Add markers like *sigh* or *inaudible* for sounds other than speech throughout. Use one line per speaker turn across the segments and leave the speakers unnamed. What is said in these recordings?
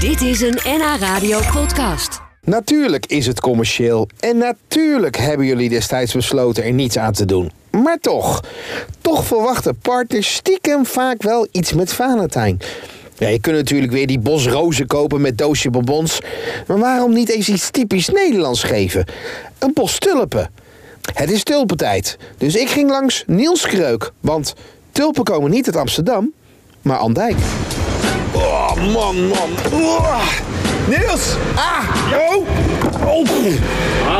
Dit is een NH Radio podcast.
Natuurlijk is het commercieel en natuurlijk hebben jullie destijds besloten er niets aan te doen. Maar toch, toch verwachten partners stiekem vaak wel iets met Valentijn. Ja, je kunt natuurlijk weer die bos rozen kopen met doosje bonbons. Maar waarom niet eens iets typisch Nederlands geven? Een bos tulpen. Het is tulpentijd, dus ik ging langs Niels Kreuk. Want tulpen komen niet uit Amsterdam, maar Andijk. Oh, man, man. Oh. Niels! Ah! Yo! Oh.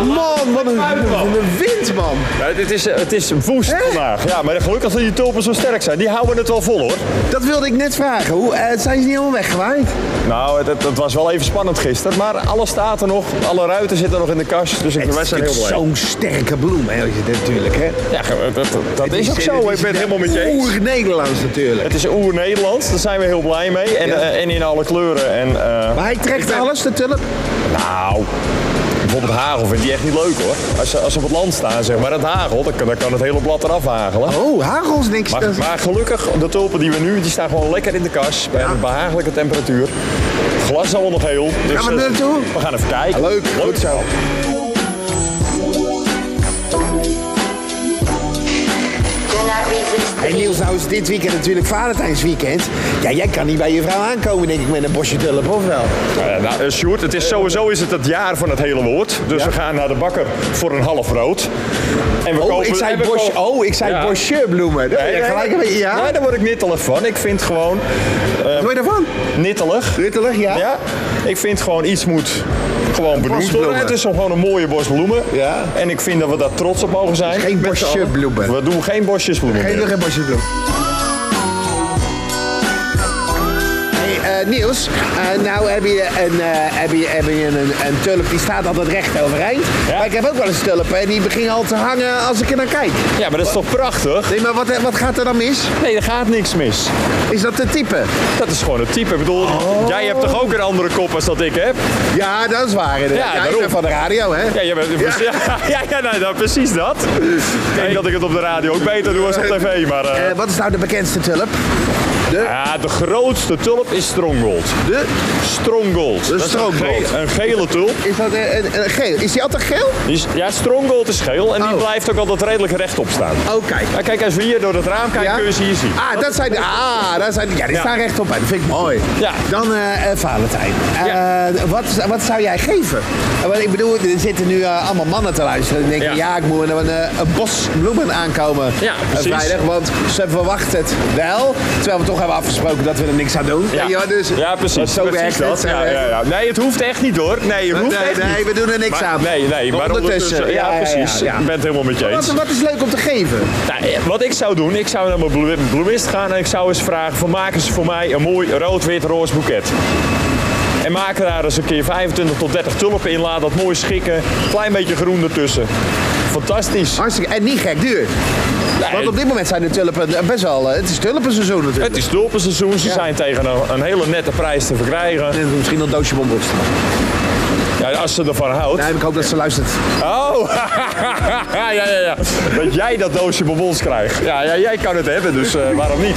Man, wat een, wat een wind, man.
Ja, het, is, het is woest
Hè?
vandaag. Ja, maar gelukkig dat die tulpen zo sterk zijn. Die houden het wel vol hoor.
Dat wilde ik net vragen. Hoe, eh, zijn ze niet helemaal weggewaaid?
Nou, het, het, het was wel even spannend gisteren. Maar alles staat er nog. Alle ruiten zitten nog in de kast. Dus ik, wij zijn
Het
heel
is
blij.
zo'n sterke bloem, hè, als je dit natuurlijk, hè.
Ja, dat, dat, dat is ook
Het
zo. Ik ben het helemaal met je eens.
Oer-Nederlands natuurlijk.
Het is oer-Nederlands. Daar zijn we heel blij mee. En,
Ja.
eh, en in alle kleuren. En, eh,
Maar hij trekt alles, de tulp.
nou, bijvoorbeeld hagel vind die echt niet leuk hoor. Als ze, als ze op het land staan, zeg maar, het hagel, dan, kan- dan kan het hele blad eraf hagelen.
Oh, hagels niks.
Maar,
Dat-
maar gelukkig, de tulpen die we nu, die staan gewoon lekker in de kas. Bij een behagelijke temperatuur. Het glas is allemaal nog heel. Dus,
Gaan we
eh,
er naartoe?
We gaan even kijken.
Leuk, goed zo. Hey Niels, nou is dit weekend natuurlijk Valentijnsweekend. Ja, jij kan niet bij je vrouw aankomen, denk ik, met een bosje tulp, of wel?
Eh, nou, eh, Sjoerd, het is sowieso is het het jaar van het hele woord. Dus we gaan naar de bakker voor een half brood. En we
Oh, ik zei,
en we
bos,
kopen-
oh, ik zei
Ja.
bosje bloemen. Nee,
Nee, nee,
gelijk een
nee.
beetje, ja?
Nee, daar word ik nittelig van. Ik vind gewoon eh,
Wat je daarvan?
nittelig.
Rittelig, ja?
Ja, ik vind gewoon iets moet gewoon benoemd worden.
bosbloemen.
Het is gewoon een mooie bos bloemen.
Ja.
En ik vind dat we daar trots op mogen zijn.
Geen
Met z'n
bosje
allen.
bloemen.
We doen geen bosjes bloemen.
Geen
meer.
nog geen bosje bloem. Hey, eh, Niels, eh, nou heb je, een, eh, heb, je, heb je een, een tulp die staat altijd recht overeind.
Ja.
Maar ik heb ook wel eens tulpen en die begint al te hangen als ik er naar kijk.
Ja, maar dat is toch prachtig?
Nee, maar wat, wat gaat er dan mis?
Nee, er gaat niks mis.
Is dat te type?
Dat is gewoon het type. Ik bedoel,
Oh.
jij hebt toch ook een andere kop als dat ik heb?
Ja, dat is waar. inderdaad.
Ja,
Ja, ik
daarom.
ben van de radio, hè?
Ja, jij bent, ja. *laughs* Ja, ja, nou, nou, precies dat. Ik denk dat ik het op de radio ook beter doe als
*laughs*
op tv, maar... eh,
Eh, wat is nou de bekendste tulp?
ja, de grootste tulp is Stronggold.
De,
Stronggold. Dat is een
Stronggold.
ge- Een gele tulp.
is dat een, een, een geel? Is die altijd geel?
Die is- Ja, Stronggold is geel en die
Oh.
blijft ook altijd redelijk rechtop staan.
Oh, kijk.
Maar kijk, als we hier door het raam kijken,
Ja?
kun je ze hier zien.
Ah, dat zijn de. Ah, dat zijn, ja, die
Ja.
staan rechtop uit. Dat vind ik mooi.
Ja.
Dan eh eh, Valentijn. Eh,
Ja.
wat, wat zou jij geven? Eh, want ik bedoel, er zitten nu eh, allemaal mannen te luisteren. En denken, ja.
Ja.
ik moet een, eh, een bos bloemen aankomen
Ja,
eh,
precies.
vrijdag. Want ze verwachten het wel. Terwijl we toch hebben afgesproken dat we er niks aan doen.
Ja.
Ja, dus,
ja, precies.
Zo
precies
werkt
dat.
het. eh,
Ja, ja, ja. Nee, het hoeft echt niet hoor. Nee, het
Nee,
hoeft echt
nee,
niet.
we doen er niks
Maar-
aan.
Nee, nee, maar ondertussen. ja, precies.
ja, ja.
Ik ben het helemaal met je
Wat,
eens.
wat is leuk om te geven?
Nou, eh, wat ik zou doen, ik zou naar mijn bloe- bloemist gaan en ik zou eens vragen: van, maken ze voor mij een mooi rood-wit-roos boeket? En maak er daar eens een keer 25 tot 30 tulpen in, laat dat mooi schikken. Klein beetje groen ertussen. Fantastisch.
Hartstikke. En niet gek duur.
Nee,
Want op dit moment zijn de tulpen eh, best wel. eh, Het is tulpenseizoen natuurlijk.
het is tulpenseizoen, ze
Ja.
zijn tegen een, een hele nette prijs te verkrijgen.
En misschien nog een doosje bonbons.
Ja, als ze ervan houdt.
Nee, ik hoop dat ze luistert.
Oh, *laughs* ja, ja, ja. Dat jij dat doosje bonbons krijgt. Ja, ja jij kan het hebben, dus eh, waarom niet?